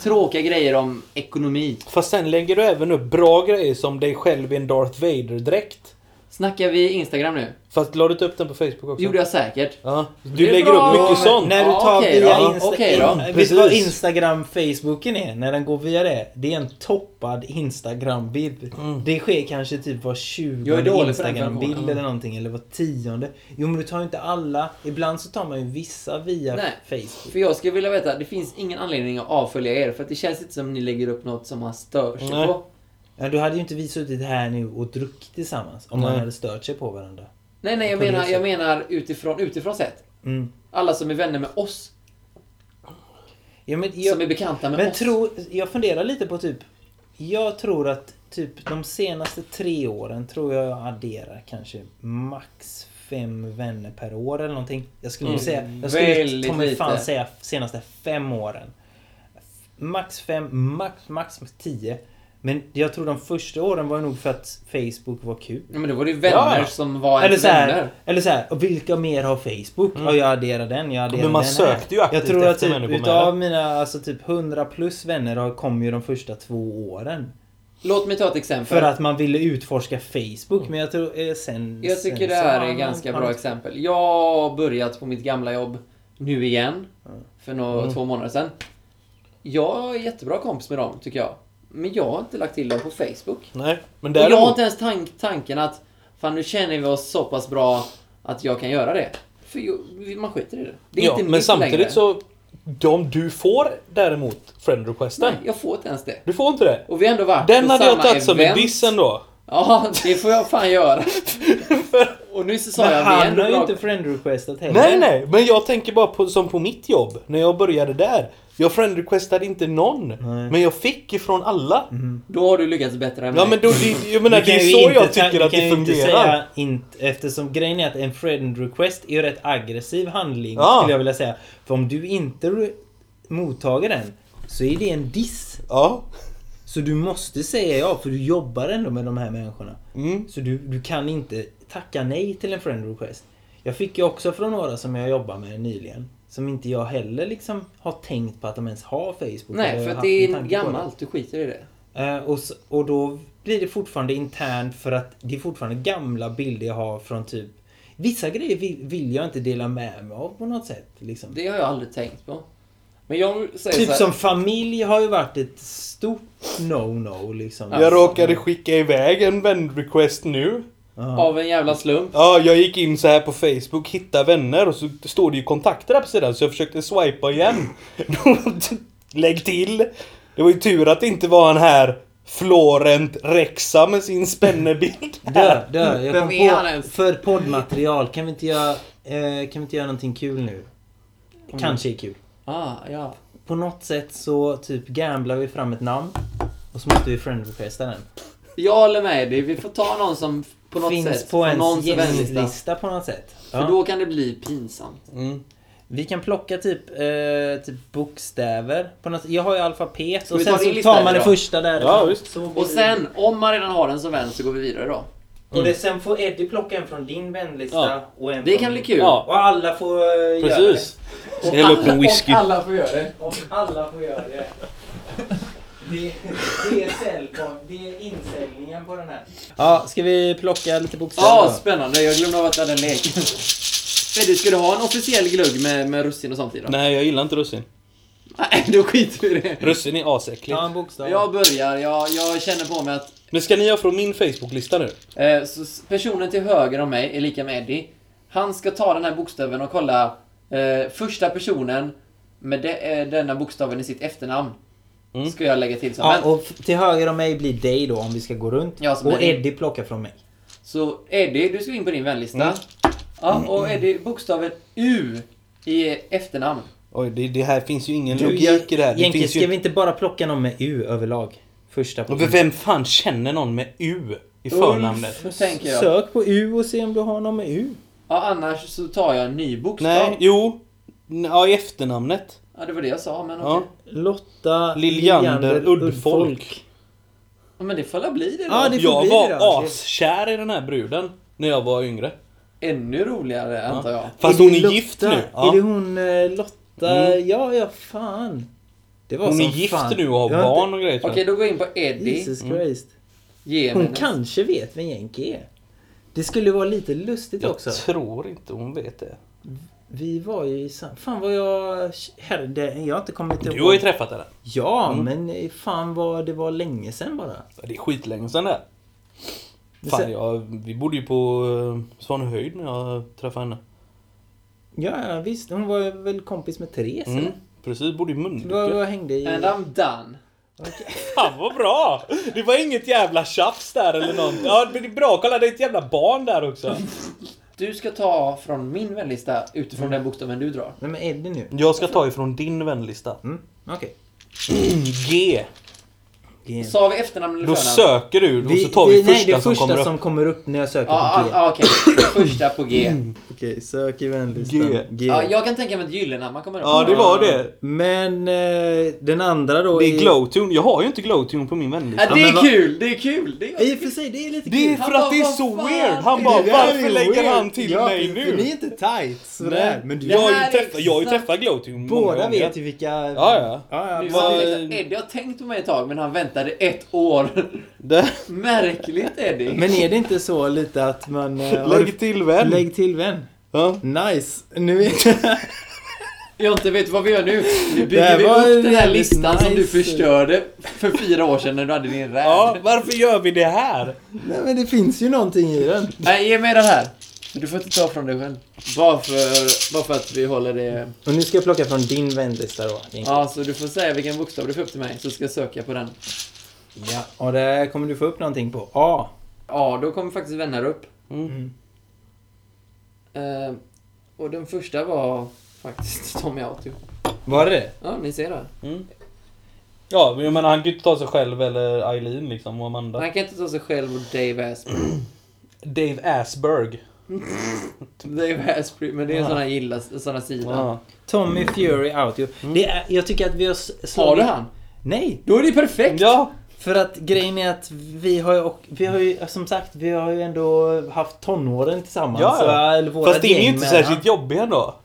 tråkiga grejer om ekonomi.
Fast sen lägger du även upp bra grejer som dig själv i en Darth Vader-dräkt.
Snackar vi Instagram nu?
Fast la du inte upp den på Facebook också?
Det gjorde jag säkert.
Ja.
Det
Du
är
lägger
bra.
upp mycket
Ja,
sånt.
När du
Ja,
tar
okej
via
då.
Insta-
Okej då.
In- Vet du vad
Precis.
Instagram, Facebooken är? När den går via det. Det är en toppad Instagram-bild. Det sker kanske typ var
Mm. Jag är dålig på
tjugonde
den
Instagram-bild
funktionen.
eller någonting. Eller var tionde. Jo men du tar ju inte alla. Ibland så tar man ju vissa via
Nej.
Facebook.
För jag skulle vilja veta, det finns ingen anledning att avfölja er för att det känns inte som ni lägger upp något som man stör sig
Nej.
på.
Ja, då hade ju inte vi suttit här nu och druckit tillsammans. Om man hade stört sig på varandra.
Nej, nej, jag
På det
menar, jag
sättet.
menar utifrån, utifrån sett.
Mm.
Alla som är vänner med oss,
Ja, men jag,
som är bekanta med
Men
oss.
tro, jag funderar lite på typ... Jag tror att typ de senaste tre åren tror jag jag adderar kanske max fem vänner per år eller någonting. Jag skulle nog säga... Jag skulle
Mm. väldigt
ta mig fan
lite.
säga senaste fem åren. F- Max fem, max, max tio. Men jag tror de första åren var nog för att Facebook var kul.
Ja, men då var det ju vänner
Ja.
som var
Eller
ens
så
vänner. Mm.
här, eller så här, och vilka mer har Facebook? Ja, jag adderar den, jag adderar
Men man
den
sökte ju
här. Jag
aktivt
tror att
efter
typ,
människor med
utav mina alltså typ 100 plus vänner har- kom ju de första två
Mm.
åren.
Låt mig ta ett exempel.
För att man ville utforska Facebook, men jag tror eh, sen...
Mm. Jag tycker
sen
det
så
här
har
är
man-
ganska
har
bra
man-
exempel. Jag har börjat på mitt gamla jobb nu igen. För några,
Mm.
två månader sedan. Jag är jättebra kompis med dem, tycker jag. Men jag har inte lagt till dem på Facebook.
Nej, men
Och jag har
däremot...
inte ens tank, tanken att fan nu känner vi oss så pass bra att jag kan göra det. För ju- man skiter i det. Det är
Ja,
inte
men
mitt
samtidigt
längre.
så... De du får däremot friend requesten.
Nej, jag får inte ens det.
Du får inte det.
Och vi har ändå varit
Den
på
hade jag
samma
tagit som en
event.
diss ändå.
Ja, det får jag fan
[laughs]
göra. Och nu så sa
Men
jag vi är
han
ändå
har ju
bra
inte friend requestat heller.
Nej, nej, men jag tänker bara på, som på mitt jobb. När jag började där. Jag friend-requestade inte någon. Men jag fick ifrån alla.
Då har du lyckats bättre än
Ja,
mig.
men då, det, jag menar,
Du
det
kan
är
ju
så
inte ta-
jag tycker
du
att
kan
det
ju inte
fungerar.
säga inte, eftersom grejen är att en friend request är ju rätt aggressiv handling
Ja.
skulle jag vilja säga. För om du inte re- mottager den så är det en diss.
Ja.
Så du måste säga ja för du jobbar ändå med de här människorna.
Mm.
Så du, du kan inte tacka nej till en friend request. Jag fick ju också från några som jag jobbar med nyligen. Som inte jag heller liksom har tänkt på att de ens har Facebook. eller
Nej, för
haft
att det
en
är
tanke på det.
gammalt. Du skiter i det.
Eh, och, s- och då blir det fortfarande internt för att det är fortfarande gamla bilder jag har från typ Vissa grejer vill, vill jag inte dela med mig av på något sätt. Liksom.
Det har jag aldrig tänkt på. Men jag säger
Typ
så här,
som familj har ju varit ett stort no-no liksom.
Ja.
Jag råkade skicka iväg en vänrequest nu.
Ja.
av en jävla slump.
Ja, jag gick in så här på Facebook, hitta vänner och så står det ju kontakter där på sidan så jag försökte swipa igen. [laughs] Lägg till! Det var ju tur att det inte var han här Florent Rexa med sin [laughs] spännebild.
Dö, dö. Jag
[laughs] Vem
kom
är han
på,
ens?
för poddmaterial, kan vi inte göra, eh, kan vi inte göra någonting kul nu? Kanske är kul.
Ah, ja.
På något sätt så typ gamblar vi fram ett namn. Och så måste vi friend-requesta den.
Jag håller med dig. Vi får ta någon som på något
Finns
sätt...
på
någons
ens
vänlista.
gästlista på något sätt. Ja.
För då kan det bli pinsamt.
Vi kan plocka typ, eh, typ bokstäver. På något, jag har ju alfabet
vi
och
ta
sen
din
så
lista
tar
eller
man det
då?
första där.
Ja, visst.
Så blir
Och
det-
sen, om man redan har en som vän så går vi vidare då.
Och det, sen får Eddie plocka en från din vänlista
Ja.
och en
Det
från
kan bli
min.
kul.
Ja.
Och alla får eh, göra det.
Precis. Häll upp en whisky.
Och alla får göra det.
Och alla får göra det. Det, det är säljpon, det är insäljningen på den här. Ja, ska vi plocka lite bokstäver
Ja,
då?
spännande. Jag glömde av att jag hade en lek. Eddie, ska du ha en officiell glögg med, med russin och sånt i då?
Nej, jag gillar inte russin.
Nej, då skiter vi i det.
Russin är asäckligt.
Ta en bokstav.
Jag börjar. Jag, jag känner på mig att
Men ska ni ha från min Facebook-lista nu?
Eh, så s- personen till höger om mig är lika med Eddie. Han ska ta den här bokstaven och kolla eh, första personen med de, eh, denna bokstaven i sitt efternamn.
Mm.
Ska jag lägga till som
Ja,
vän.
och f- till höger om mig blir dig då om vi ska gå runt.
Ja, som är
och
din.
Eddie plockar från mig.
Så Eddie, du ska in på din vänlista.
Mm.
Ja, och Eddie, bokstaven U i efternamn.
Oj, det, det här finns ju ingen
Du,
logik i det här. Det
Egentligen
finns
ska
ju...
vi inte bara plocka någon med U överlag? Första på
Men Vem fan känner någon med U i förnamnet?
Ulf, tänker jag.
Sök på U och se om du har någon med U.
Ja, annars så tar jag en ny bokstav.
Nej, jo. N- Ja, i efternamnet.
Ja, det var det jag sa, men
Ja.
okej.
Lotta
Liljander Uddfolk.
Ja, men det får väl bli det då.
Ja, det- får
Jag
bli
var
det då.
askär i den här bruden när jag var yngre.
Ännu roligare, antar jag.
Fast hon är gift nu.
Är det
Ja. Mm.
hon eh, Lotta? Ja, ja, fan. Det var
Hon är
som
gift
fan.
nu och har
Jag har
barn och grejer tror
Okej,
jag.
då går jag in på Eddie.
Jesus Christ.
Ge
Hon
mig en-
kanske vet vem Jänke är. Det skulle vara lite lustigt också.
Jag tror inte hon vet det.
Vi var ju i sam... Fan vad jag... Herre, det- jag har inte kommit ihåg.
Du har ju träffat henne.
Ja,
Mm.
men eh, fan vad det var länge sedan bara.
Ja, Det är skitlänge sedan det här.
Men
Fan,
sen-
jag, vi bodde ju på eh, Svanhöjd när jag träffade henne.
Ja, ja, visst. Hon var väl kompis med Therese?
Mm,
eller?
precis, bodde i
Vad,
Mölnlycke.
vad hängde i?
And I'm done.
Fan vad bra! Det var inget jävla tjafs där eller något. Ja, men det är bra. Kolla, det är ett jävla barn där också.
Du ska ta från min vänlista utifrån den bokstaven du drar.
Vem är Eddie nu?
Jag ska ta ifrån din vänlista.
Mm, okej.
G.
Sa vi efternamn eller
Då
förnamn?
söker du och
Vi-
så tar vi
vi- nej,
första,
det
som kommer upp.
som kommer upp när jag söker
Ja, ah,
på G.
ah, okej. Första på G.
Okej, sök i vänlistan.
G.
Ja, jag kan tänka mig ett gyllene man kommer upp.
Ja, det var det.
Men eh, den andra då
Det är Glowtune. Jag har ju inte Glowtune på min vänlista.
Ja, det är kul! Det är kul! Det är...
I och för sig, det är lite
Det är
Han
för
bara,
att det är
"Vad
så
fan?"
weird. Han bara,
Det är
varför
ju
lägger
weird.
han till
Ja,
mig
för-
nu?
för Ni är inte tight sådär. Men du,
Det
jag, har
här
ju
är
träffat, jag har ju
exakt-
träffat Glowtune många
båda
gånger.
vet ju vilka...
Ja, ja.
ja,
Nu
vad-
sa vi liksom, Eddie har tänkt på mig ett tag, men han väntade ett år. [laughs]
Det-
Märkligt Eddie.
Men är det inte så lite att man... eh, har-
Lägg till vän.
Lägg till vän.
Ja.
Nice. Nu är... [laughs]
Jag inte vet vad vi gör nu. Nu
Det
bygger
här
vi
var
upp den här
jävligt
listan som du
nice.
förstörde för fyra år sedan när du hade din räd.
ja, varför gör vi det här?
Nej men det finns ju någonting i den.
Nej, ge mig den här. Du får inte ta från dig själv. Bara för, bara för att vi håller det...
Och nu ska jag plocka från din vänlista då.
Ja, så du får säga vilken bokstav du får upp till mig, så ska jag söka på den.
Ja. Och där kommer du få upp någonting på. A.
Ja, då kommer faktiskt vänner upp.
Mm.
Mm. Eh, och den första var faktiskt [laughs] Tommy Autio.
Var det det?
Ja, ni ser det.
Ja, men jag menar, han kan ju inte ta sig själv eller Eileen liksom och Amanda.
Han kan inte ta sig själv och Dave Asprey.
Dave Asberg.
Dave Asprey, men det är en sån här gilla, sån här sida.
Ja.
Tommy Fury Audio. Mm. Det är, jag tycker att vi har s- slagit...
Har du han?
Nej!
Då är det perfekt!
ja.
För att grejen är att vi har ju, och, vi har ju som sagt, vi har ju ändå haft tonåren tillsammans.
Ja, ja.
så- Alltså, eller våra
Fast det är ju
gäng
inte
med
särskilt
han.
jobbig ändå.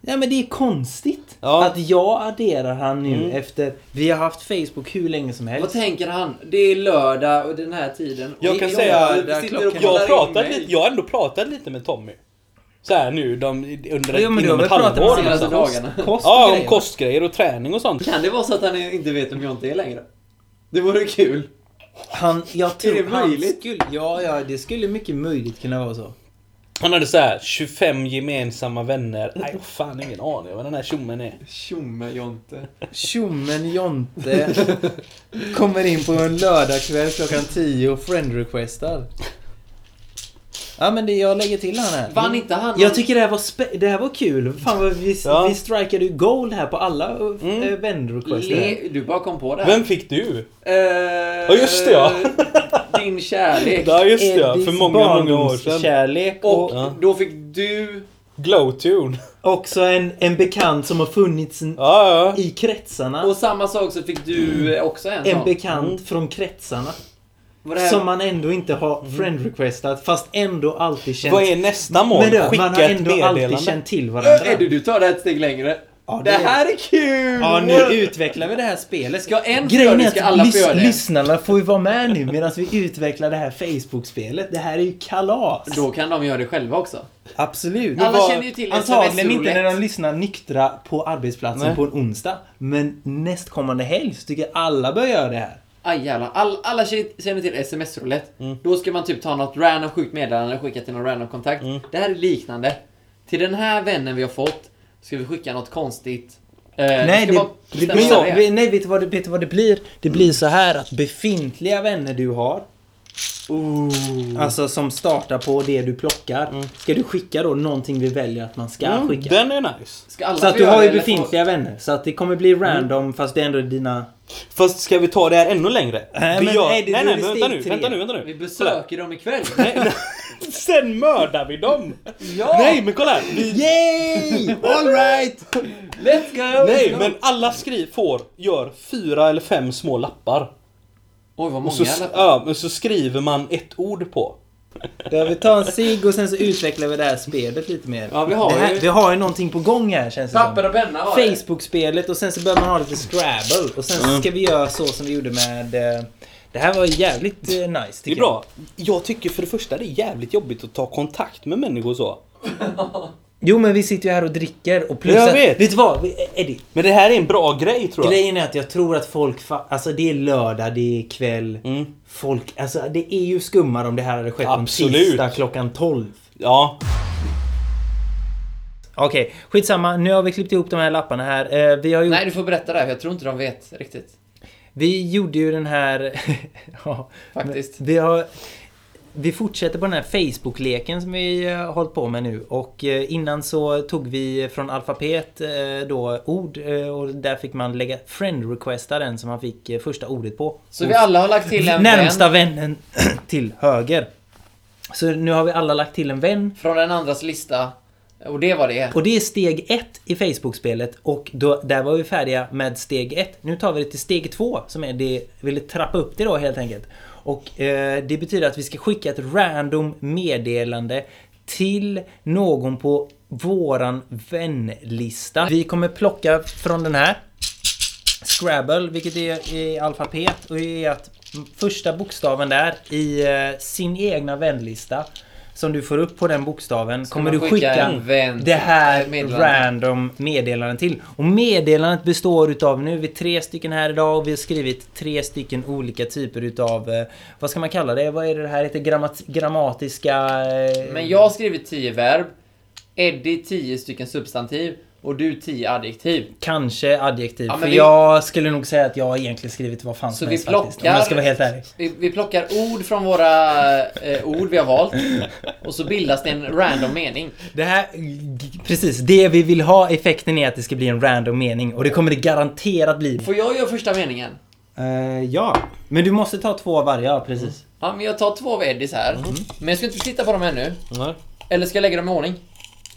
Nej men det är konstigt.
Ja.
Att jag adderar han nu efter... Vi har haft Facebook hur länge som
Vad
helst.
tänker han? Det är lördag och den här tiden.
Jag
Vi-
kan
vi-
säga-
vi sitter och
klockan-
kollar
Jag,
in
pratat
mig.
lite, jag har ändå pratat lite med Tommy. så här nu de,
Jo,
under
men du har
inom
väl
ett
pratat
halvår.
om
senaste
nästan.
dagarna.
Ja, om
Kostgrejer.
kostgrejer och träning och sånt.
Kan det vara så att han inte vet vem Jonte är längre? Det vore kul.
Han, jag tror
det
han
möjligt?
skulle... Ja, ja, det skulle mycket möjligt kunna vara så.
Han hade så här 25 gemensamma vänner. Nej, jag har fan ingen aning om vad den här tjommen är.
Tjomme-Jonte.
Tjommen Jonte kommer in på en lördagkväll klockan 10 och friend-requestar. Ja men det, jag lägger till han här.
Vann inte han?
Jag tycker det här var, spe- det här var kul. Fan vad vi,
Ja.
vi strikade ju goal här på alla mm.
Mm.
vänrequester.
Le... Du bara kom på det här.
Vem fick du?
Eh,
Ja, just det, ja.
[laughs] Din kärlek.
Ja,
Eh,
just det. ja. För många, många år sedan.
Kärlek
Och
och
Ja.
då fick du...
Glowtune.
också en, en bekant som har funnits
Ja, ja.
i kretsarna.
Och samma sak så fick du eh, också en
en
sån.
bekant
Mm.
från kretsarna.
Var det här-
Som man ändå inte har friend-requestat fast ändå alltid känt
Mm. Vad är nästa mål?
Men du, man har
Skicka ett
ändå alltid
meddelande.
känt till
Ö,
varandra.
Eddie, Eh, du tar det här ett steg längre.
Ja,
det,
det är-
här är kul!
Ja,
Mm.
nu utvecklar vi det här spelet.
Ska en få göra
Grejen
det,
är
ska
att
alla få
lys-
göra det.
lyssnarna får ju vara med nu medan vi utvecklar det här Facebook-spelet. Det här är ju kalas.
Då kan de göra det själva också.
Absolut.
Alla
vad-
känner ju till
Antagligen inte när de
SMS-roulette.
lyssnar nyktra på arbetsplatsen
Nej.
på en onsdag. Men nästkommande helg så tycker jag alla bör göra det här.
Aj jävlar. All, alla tje- känner till sms-roulette.
Mm.
Då ska man typ ta något random sjukt meddelande och skicka till någon random kontakt.
Mm.
Det här är liknande. Till den här vännen vi har fått ska vi skicka något konstigt. Eh, vi
Nej,
ska
det,
bara
det,
bestämma
men
det.
jag, vi- nej vet, du vad det, vet du vad det blir? Det blir så här att befintliga vänner du har Alltså som startar på det du plockar Ska du skicka då någonting vi väljer att man ska
Mm,
skicka?
den är nice.
Ska alla
Så att
få
du
göra
har
det
ju
eller
befintliga vänner Så att det kommer bli random fast det är ändå dina
Fast ska vi ta det här ännu längre?
Nej,
vi
men nej, det-
nej,
då är det
nej, men vänta
steg
nu,
tre.
vänta nu, vänta
får- Vi
nu.
besöker dem ikväll.
Nej, nej. [laughs] Sen mördar vi dem!
Ja!
Nej, men kolla här! Vi,
Yay!
Alright! Let's go!
nej,
Let's go.
men alla skriv får, gör fyra eller fem små lappar.
Oj, vad
Och
många
så,
alla
ja, men så skriver man ett ord på.
Då vi tar en cigg och sen så utvecklar vi det här spelet lite mer
Ja, vi har
det här,
ju-
Vi har ju någonting på gång här känns det som
Papper och penna var det.
Facebook-spelet och sen så börjar man ha lite Scrabble och sen så ska vi göra så som vi gjorde med eh, Det här var jävligt eh, nice
Det är
tycker jag.
bra. Jag tycker för det första det är jävligt jobbigt att ta kontakt med människor så.
Jo men vi sitter ju här och dricker och plus
Jag
att,
vet.
Vet du vad? Vi- Eddie,
Men det här är en bra grej tror jag.
grejen är att jag tror att folk fa- Alltså det är lördag, det är kväll.
Mm.
Folk, alltså det är ju skummare om det här hade skett på en
Absolut.
tisdag klockan 12.
Ja.
Okej, skitsamma. Nu har vi klippt ihop de här lapparna här. Eh, vi har gjort...
Nej, du får berätta det här, för jag tror inte de vet riktigt.
Vi gjorde ju den här... [laughs] ja,
Faktiskt.
men Vi har... Vi fortsätter på den här Facebook-leken som vi eh, har hållit på med nu och eh, innan så tog vi från alfabet eh, då ord eh, och där fick man lägga friend-requesta den som man fick eh, första ordet på.
Så vi alla har lagt till en
Närmsta
vän
vännen [clears throat] till höger. Så nu har vi alla lagt till en vän
från den andras lista. Och det var det.
och det är steg ett i Facebook-spelet och då, där var vi färdiga med steg ett. Nu tar vi det till steg två som är det, vi vill trappa upp det då helt enkelt. Och eh, det betyder att vi ska skicka ett random meddelande till någon på våran vänlista. Vi kommer plocka från den här. Scrabble, vilket är i alfabet och är att första bokstaven där i eh, sin egna vänlista som du får upp på den bokstaven kommer du
man skicka
skicka
en vän
det här
till- meddelande.
random meddelandet till. Och meddelandet består utav, nu är vi tre stycken här idag och vi har skrivit tre stycken olika typer utav, eh, vad ska man kalla det? Vad är det det här heter? Grammat- grammatiska... eh,
Men jag har skrivit 10 verb, Eddie 10 stycken substantiv och du 10 adjektiv.
Kanske adjektiv.
Ja, men
för
vi-
jag skulle nog säga att jag har egentligen skrivit vad fan
Så
som
vi
helst faktiskt. Om
plockar-
jag ska vara helt ärlig.
Vi, vi plockar ord från våra eh, ord vi
[laughs]
har valt och så bildas det en random mening.
Det här, g- precis, det vi vill ha effekten är att det ska bli en random mening och det kommer det garanterat bli.
Får jag göra första meningen?
Eh, ja, men du måste ta två av varje, ja precis.
Ja, men jag tar två av Eddies här.
Mhm.
Men jag ska inte titta på dem ännu.
Nej.
Eller ska jag lägga dem i ordning?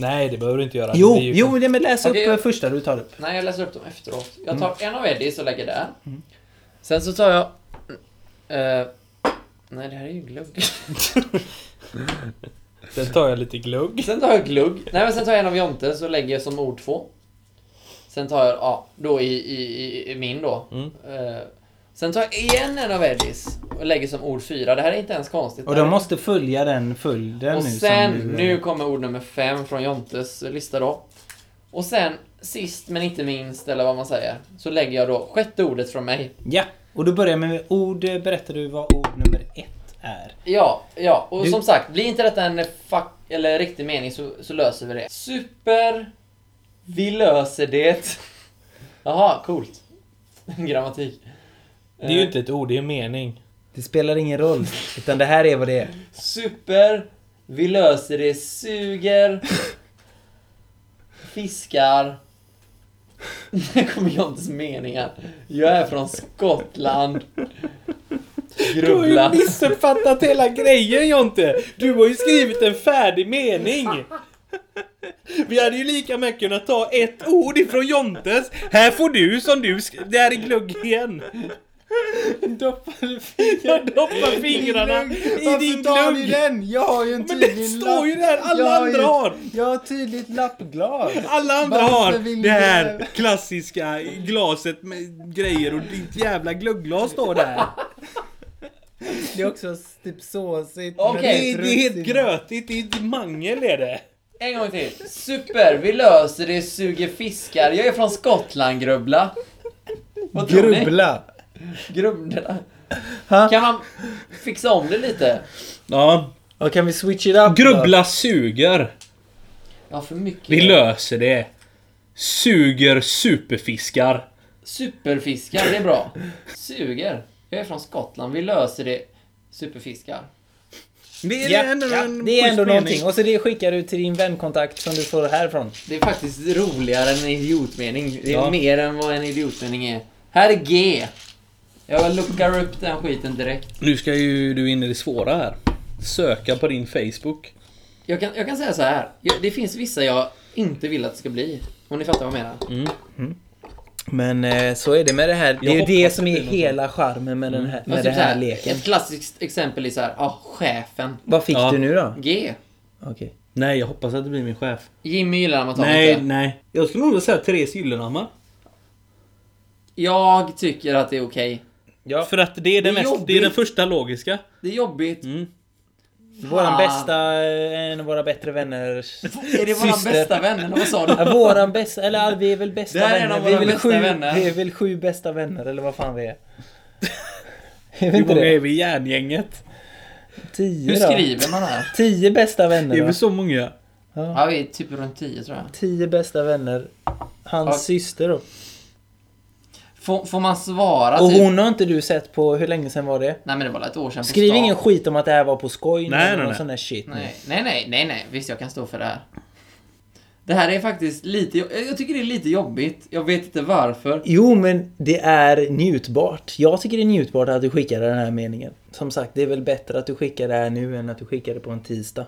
Nej, det behöver du inte göra.
Jo,
Det är ju-
jo, det men läs upp
Okej.
eh, första du tar upp.
Nej, jag läser upp dem efteråt. Jag
Mm.
tar en av Eddies och lägger där. Sen så tar jag... Eh, nej, det här är ju glugg.
Sen tar jag lite glugg.
sen tar jag glugg. Nej, men sen tar jag en av Jonte så lägger jag som ord
Mm.
två. Sen tar jag, ja, då i, i, i, i min då. Eh, Sen tar jag igen en av Eddies och lägger som ord fyra. Det här är inte ens konstigt.
Och de måste följa den följden
Och
nu. som
sen,
du- eh,
nu kommer ord nummer fem från Jontes lista då. Och sen, sist men inte minst, eller vad man säger, så lägger jag då sjätte ordet från mig.
Ja, och då börjar jag med ord. Berättar du vad ord nummer ett är?
Ja, ja, och
Du-
som sagt, blir inte detta en fuck, eller riktig mening så, så löser vi det. Super... Vi löser det. [laughs] Jaha, coolt. [laughs] Grammatik. Eh,
Det är ju inte ett ord, det är en mening.
Det spelar ingen roll, utan det här är vad det är.
Super, vi löser det, suger, fiskar. [laughs] Nu kommer Jontes meningar. Jag är från Skottland.
Du har ju
Grubbla.
missuppfattat hela grejen Jonte! Du har ju skrivit en färdig mening! Vi hade ju lika mycket kunnat ta ett ord ifrån Jontes. Här får du som du sk- Det här är glugg igen.
Doppade
Jag doppar fingrarna i din glugg.
den? Jag har ju en
Men det står ju där, alla
Jag har ju-
andra har!
Jag har tydligt lappglas.
Alla andra
Varför
har
vill
det
du-
här klassiska glaset med grejer och ditt jävla gluggglas står där.
Det är också typ såsigt.
Okej,
Det, är- det är helt grötigt, det är ett mangel är det.
En gång till. Super, vi löser det, suger fiskar. Jag är från Skottland, grubbla. Vad tror ni?
Grubbla.
Grubbla.
Ha?
Kan man fixa om det lite?
Ja.
Och kan vi switch it up? då?
Grubbla suger.
Jag har för mycket.
Vi löser det. Suger superfiskar.
Superfiskar, det är bra. Suger. Jag är från Skottland, vi löser det. Superfiskar.
Det
Ja, ja, det är ändå någonting. Och så det skickar du till din vänkontakt som du får härifrån.
Det är faktiskt roligare än en idiotmening. Det är
Ja.
mer än vad en idiotmening är. Här är G. Jag lookar upp den skiten direkt.
Nu ska ju du in i det svåra här. Söka på din Facebook.
Jag kan, jag kan säga så här. Jag, det finns vissa jag inte vill att det ska bli. Om ni fattar vad jag menar.
Mm. Men eh, så är det med det här. Det är ju
hoppas
det som
det
är
blir något
hela charmen med den här, med
Alltså,
den
typ så
här leken.
Ett klassiskt exempel är så här. ah, chefen.
Vad fick
Ja.
du nu då?
G.
Okej.
Nej, jag hoppas att det blir min chef.
Jimmy gillar när man tar
Nej,
lite.
nej. Jag skulle nog vilja säga Therese Gyllenhammar.
Jag tycker att det är okej.
Ja.
För att det är, det
Det är
mest, det är
jobbigt.
den första logiska.
Det är jobbigt.
Mm. Våran
Fan.
bästa, eh, en av våra bättre vänner.
[laughs] Är det våran
Syster.
bästa vän eller vad sa du?
[laughs] Ja, våran bästa, eller vi är väl bästa
Det här är en
vänner.
av
vi, är
våra
väl
bästa
sju,
vänner.
vi är väl sju bästa vänner eller vad fan vi
[laughs]
är. Är vi
Hur
inte
många
det?
är vi i järngänget?
Tio
Hur
då?
skriver man här?
Tio bästa
Det är
vänner
väl
då?
så många?
Ja, vi är typ runt 10 tror jag.
Tio bästa vänner. Hans
Ja. Alltså,
syster då.
Får, får man svara
Och
typ?
hon har inte du sett på, hur länge sedan var det?
Nej men det var väl ett år sedan på
Skriv
stan.
ingen skit om att det här var på skoj
Nej,
eller
nej,
någon
nej.
sån där shit.
Nej, nej, nej, nej, nej. Visst, jag kan stå för det här. Det här är faktiskt lite... Jag, jag tycker det är lite jobbigt. Jag vet inte varför.
Jo, men det är njutbart. Jag tycker det är njutbart att du skickar den här meningen. Som sagt, det är väl bättre att du skickar det här nu än att du skickar det på en tisdag.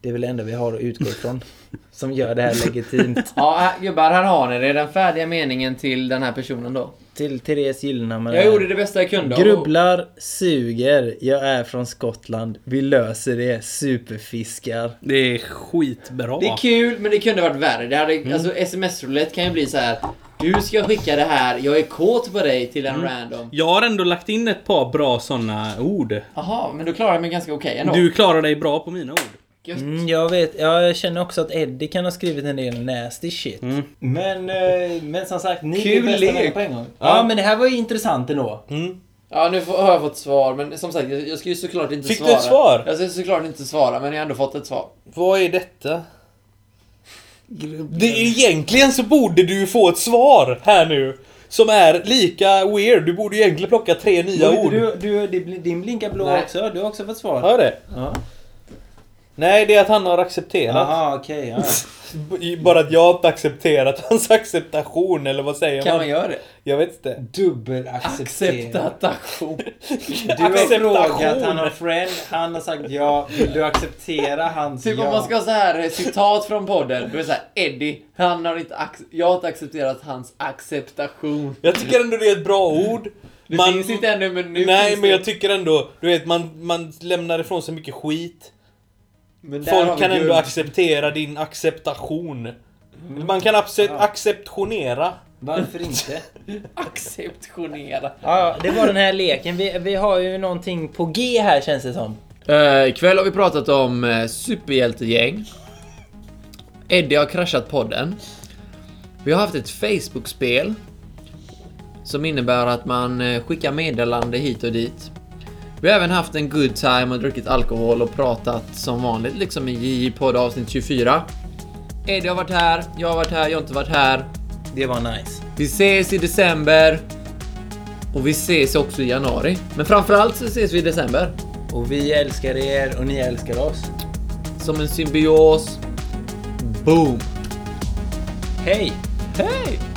Det är väl det enda vi har att utgå ifrån.
[laughs]
som gör det här legitimt.
Ja, här, gubbar, här har ni det. Den färdiga meningen till den här personen då.
Till Therese Gyllenhammar.
Jag gjorde det bästa jag kunde. och-
Grubblar, suger, jag är från Skottland. Vi löser det, superfiskar.
Det är skitbra.
Det är kul, men det kunde varit värre. Det
Mm.
hade, alltså, sms-roulette kan ju bli så här. Du ska skicka det här, jag är kåt på dig till
Mm.
en random.
Jag har ändå lagt in ett par bra såna ord.
Jaha, men du klarar jag mig ganska okej ändå.
Du klarar dig bra på mina ord.
Gött.
Mm, jag vet, jag känner också att Eddie kan ha skrivit en del nasty shit.
Men, eh, men som sagt, ni
Kul
är bästa
lek.
vänner på en gång.
Ja, men det här var ju intressant ändå.
Ja, nu får, har jag fått svar, men som sagt, jag jag ska ju såklart inte
Fick du
svara.
ett svar?
Jag ska såklart inte svara, men jag har ändå fått ett svar.
Vad är detta? Det, egentligen så borde du ju få ett svar här nu. Som är lika weird. Du borde ju egentligen plocka tre nya
Oj,
ord.
Du, du, det blir- din blinkar blå
Nej.
också. Du har också fått svar.
Hör det?
Ja.
Nej, det är att han har accepterat.
Jaha, okej. ja.
B- Bara att jag har inte accepterat hans [laughs] acceptation, eller vad säger
Kan
man?
man göra det?
Jag vet inte.
Dubbelacceptera.
Acceptation.
Du har
Acceptation.
frågat, han har friend, han har sagt ja. Vill du acceptera hans
Typ
ja?
om man ska ha så här eh, citat från podden. Då är det så här, Eddie, han har inte ac- jag har inte accepterat hans acceptation.
Jag tycker ändå det är ett bra ord.
Mm. Det finns inte ännu, men nu
Nej,
finns
men
det.
jag tycker ändå, du vet, man, man lämnar ifrån sig mycket skit.
Men där har
Folk
vi
kan ändå
guld. Mm.
acceptera din acceptation. Man kan accept, acceptionera.
Varför inte?
Acceptionera.
[laughs] Ja, ja, det var den här leken. Vi, vi har ju någonting på G här känns det som.
Eh, ikväll har vi pratat om eh, superhjältegäng. Eddie har kraschat podden. Vi har haft ett Facebook-spel som innebär att man eh, skickar meddelande hit och dit. Vi har även haft en good time och druckit alkohol och pratat som vanligt liksom i JJ podd avsnitt 24. Eddie har varit här, jag har varit här, jag har inte varit här.
Det var nice.
Vi ses i december. Och vi ses också i januari. Men framförallt så ses vi i december.
Och vi älskar er och ni älskar oss.
som en symbios. Boom!
Hej!
Hej!